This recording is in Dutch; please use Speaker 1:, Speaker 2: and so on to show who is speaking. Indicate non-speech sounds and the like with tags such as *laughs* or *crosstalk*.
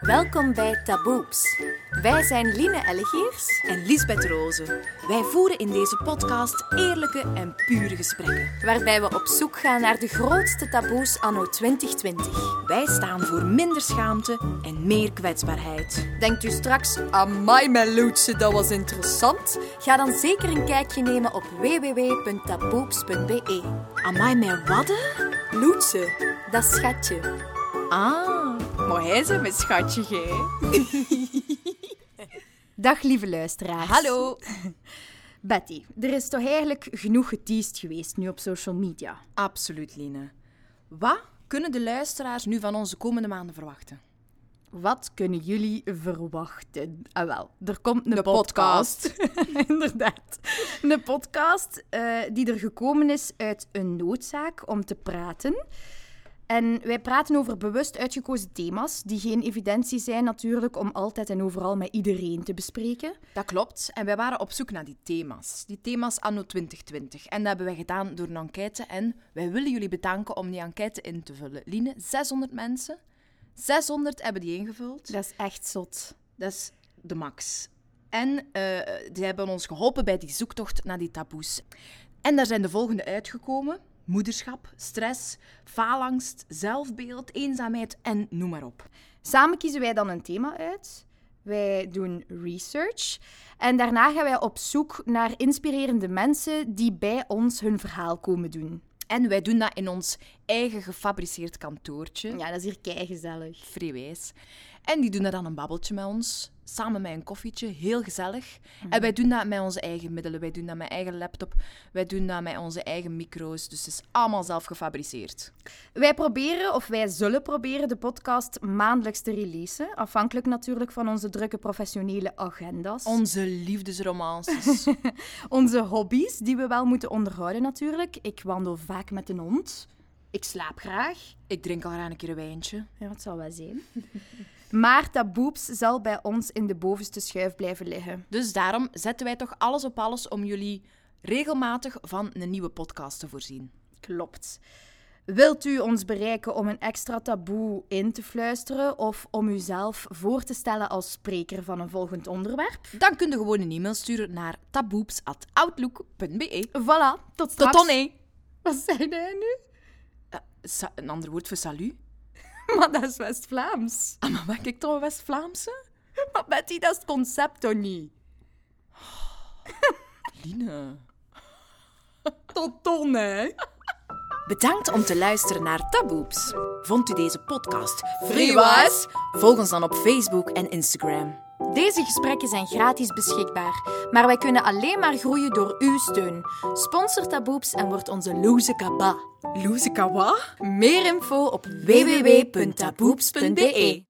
Speaker 1: Welkom bij Taboeps. Wij zijn Line Ellegeers.
Speaker 2: en Lisbeth Rozen. Wij voeren in deze podcast eerlijke en pure gesprekken.
Speaker 1: waarbij we op zoek gaan naar de grootste taboes anno 2020.
Speaker 2: Wij staan voor minder schaamte en meer kwetsbaarheid.
Speaker 1: Denkt u straks, amai mijn loodse, dat was interessant? Ga dan zeker een kijkje nemen op www.taboeps.be.
Speaker 2: Amai, mijn wadden?
Speaker 1: Loetse, dat schatje.
Speaker 2: Ah, maar hij is mijn schatje, gij.
Speaker 1: Dag lieve luisteraars.
Speaker 2: Hallo.
Speaker 3: Betty, er is toch eigenlijk genoeg geteased geweest nu op social media?
Speaker 2: Absoluut, Line. Wat kunnen de luisteraars nu van onze komende maanden verwachten?
Speaker 3: Wat kunnen jullie verwachten? Ah wel, er komt een
Speaker 2: De podcast.
Speaker 3: podcast. *laughs* Inderdaad. Een podcast eh, die er gekomen is uit een noodzaak om te praten. En wij praten over bewust uitgekozen thema's, die geen evidentie zijn natuurlijk om altijd en overal met iedereen te bespreken.
Speaker 2: Dat klopt. En wij waren op zoek naar die thema's. Die thema's anno 2020. En dat hebben wij gedaan door een enquête. En wij willen jullie bedanken om die enquête in te vullen. Line, 600 mensen. 600 hebben die ingevuld.
Speaker 3: Dat is echt zot.
Speaker 2: Dat is de max. En eh, die hebben ons geholpen bij die zoektocht naar die taboes. En daar zijn de volgende uitgekomen. Moederschap, stress, faalangst, zelfbeeld, eenzaamheid en noem maar op.
Speaker 3: Samen kiezen wij dan een thema uit. Wij doen research. En daarna gaan wij op zoek naar inspirerende mensen die bij ons hun verhaal komen doen.
Speaker 2: En wij doen dat in ons eigen gefabriceerd kantoortje.
Speaker 3: Ja, dat is hier keigezellig.
Speaker 2: vrij wijs. En die doen daar dan een babbeltje met ons, samen met een koffietje, heel gezellig. En wij doen dat met onze eigen middelen, wij doen dat met eigen laptop, wij doen dat met onze eigen micro's. Dus het is allemaal zelf gefabriceerd.
Speaker 3: Wij proberen, of wij zullen proberen, de podcast maandelijks te releasen. Afhankelijk natuurlijk van onze drukke professionele agendas.
Speaker 2: Onze liefdesromances.
Speaker 3: onze hobby's, die we wel moeten onderhouden natuurlijk. Ik wandel vaak met een hond. Ik slaap graag.
Speaker 2: Ik drink al graag een keer een wijntje.
Speaker 3: Ja, het zal wel *laughs* zijn. Maar taboeps zal bij ons in de bovenste schuif blijven liggen.
Speaker 2: Dus daarom zetten wij toch alles op alles om jullie regelmatig van een nieuwe podcast te voorzien.
Speaker 3: Klopt. Wilt u ons bereiken om een extra taboe in te fluisteren of om uzelf voor te stellen als spreker van een volgend onderwerp?
Speaker 2: Dan kun je gewoon een e-mail sturen naar taboeps.outlook.be.
Speaker 3: Voilà, tot
Speaker 2: Tot
Speaker 3: straks.
Speaker 2: dan, hé.
Speaker 3: Wat zei jij nu?
Speaker 2: Sa- Een ander woord voor salut.
Speaker 3: *laughs* Maar dat is West-Vlaams.
Speaker 2: Ah, maar maak ik toch een West-Vlaamse?
Speaker 3: Maar Betty, dat is het concept toch niet?
Speaker 2: Line...
Speaker 3: Tot dan, hè?
Speaker 2: Bedankt om te luisteren naar Taboeps. Vond u deze podcast
Speaker 1: was?
Speaker 2: Volg ons dan op Facebook en Instagram.
Speaker 1: Deze gesprekken zijn gratis beschikbaar, maar wij kunnen alleen maar groeien door uw steun. Sponsor Taboeps en word onze loze kaba.
Speaker 2: Loesekawa?
Speaker 1: Meer info op
Speaker 2: www.taboeps.be